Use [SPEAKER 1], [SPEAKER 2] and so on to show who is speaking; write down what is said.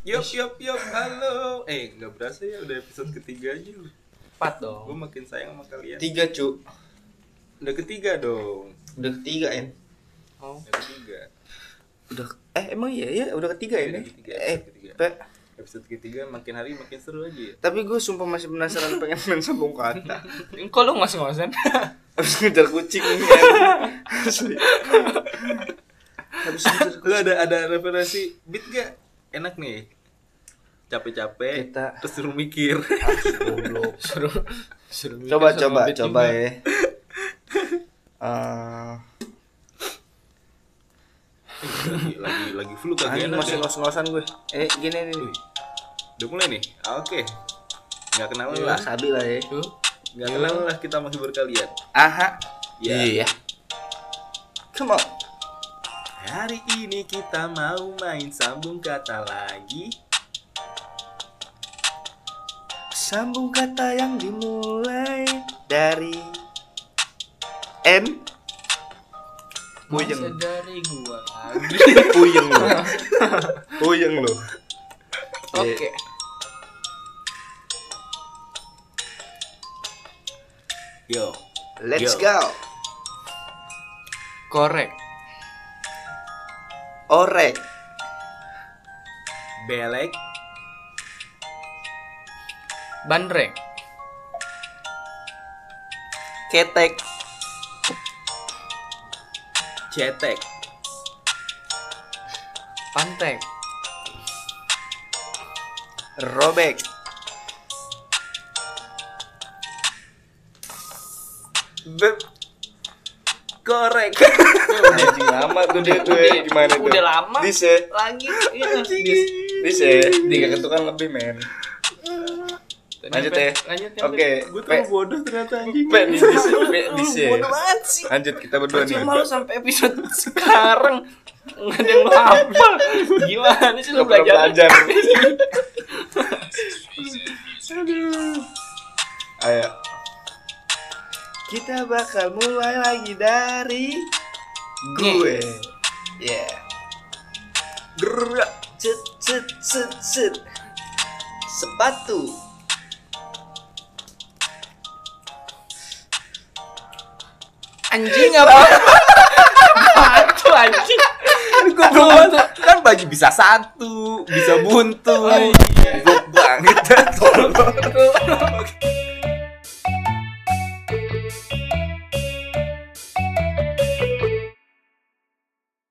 [SPEAKER 1] Yup, yup, yup, halo. Eh, nggak berasa ya udah episode ketiga aja.
[SPEAKER 2] Empat
[SPEAKER 1] Gue
[SPEAKER 3] Oh.
[SPEAKER 2] dong.
[SPEAKER 1] makin sayang sama kalian.
[SPEAKER 3] Tiga cu
[SPEAKER 1] Udah ketiga dong.
[SPEAKER 3] Udah ketiga En
[SPEAKER 2] Oh.
[SPEAKER 1] Udah ketiga.
[SPEAKER 3] Udah Eh emang iya ya udah ketiga
[SPEAKER 1] Iya,
[SPEAKER 3] ini
[SPEAKER 1] udah ketiga,
[SPEAKER 3] Eh
[SPEAKER 1] udah ketiga.
[SPEAKER 3] Pe,
[SPEAKER 1] Episode ketiga makin hari makin seru aja ya.
[SPEAKER 3] Tapi gue sumpah masih penasaran pengen main sambung kata
[SPEAKER 2] Kok lu masih ngosen?
[SPEAKER 3] Habis ngejar kucing En. Asli Habis ngejar
[SPEAKER 1] Lu ada ada referensi beat gak? Enak nih. Capek-capek,
[SPEAKER 3] Kita-
[SPEAKER 1] terus suruh mikir.
[SPEAKER 3] Goblok.
[SPEAKER 2] suruh suruh mikir sama
[SPEAKER 3] Coba coba
[SPEAKER 2] Bit
[SPEAKER 3] coba
[SPEAKER 2] juga.
[SPEAKER 3] ya Eh,
[SPEAKER 1] lagi, lagi lagi flu kagak
[SPEAKER 3] Anjing
[SPEAKER 1] enak.
[SPEAKER 3] masih
[SPEAKER 1] ya.
[SPEAKER 3] ngos-ngosan gue Eh gini nih
[SPEAKER 1] Udah mulai nih. Ah, Oke. Nggak kenal
[SPEAKER 2] Iya.
[SPEAKER 1] lah.
[SPEAKER 3] Sabi lah ya
[SPEAKER 2] Tuh.
[SPEAKER 1] Nggak kenal lah kita masih berkalian.
[SPEAKER 3] Aha
[SPEAKER 1] Ya.
[SPEAKER 3] Iya. Come on
[SPEAKER 1] Hari ini kita mau main sambung kata lagi.
[SPEAKER 3] Sambung kata yang dimulai dari N Puyeng
[SPEAKER 2] Masa dari gua lagi.
[SPEAKER 3] Puyeng lo Puyeng lo
[SPEAKER 2] Oke.
[SPEAKER 1] Yo.
[SPEAKER 3] Let's
[SPEAKER 1] Yo.
[SPEAKER 3] go
[SPEAKER 2] Korek.
[SPEAKER 3] Orek
[SPEAKER 1] Belek,
[SPEAKER 2] Bandrek.
[SPEAKER 3] Ketek
[SPEAKER 1] cetek,
[SPEAKER 2] Pantek.
[SPEAKER 3] Robek
[SPEAKER 1] beb, korek.
[SPEAKER 3] Anjing lama tuh dia tuh ya, gimana tuh
[SPEAKER 2] Udah lama.
[SPEAKER 3] Dis ya
[SPEAKER 2] Lagi. Iya.
[SPEAKER 3] Dis Dis ya Tiga ketukan lebih men Lanjut ya
[SPEAKER 2] Lanjut ya.
[SPEAKER 3] Oke
[SPEAKER 1] Gue
[SPEAKER 3] Pe
[SPEAKER 1] tuh bodoh ternyata anjing.
[SPEAKER 3] Pe dis dis Pe dis ya
[SPEAKER 2] Iya. Bodoh banget sih.
[SPEAKER 3] Lanjut kita berdua nih
[SPEAKER 2] Cuma lu sampai episode sekarang nggak ada yang lu hafal. Gimana sih lu
[SPEAKER 3] Gak pernah
[SPEAKER 2] belajar?
[SPEAKER 3] belajar. Ayo. Kita bakal mulai lagi dari gue. Ya.
[SPEAKER 1] Gerak,
[SPEAKER 3] Cet cet cet cet. Sepatu.
[SPEAKER 2] Anjing apa? Batu anjing.
[SPEAKER 1] Gue doang kan baju bisa satu, bisa buntu.
[SPEAKER 2] Oh, iya.
[SPEAKER 1] Goblok banget. Tolong.
[SPEAKER 2] Tolong.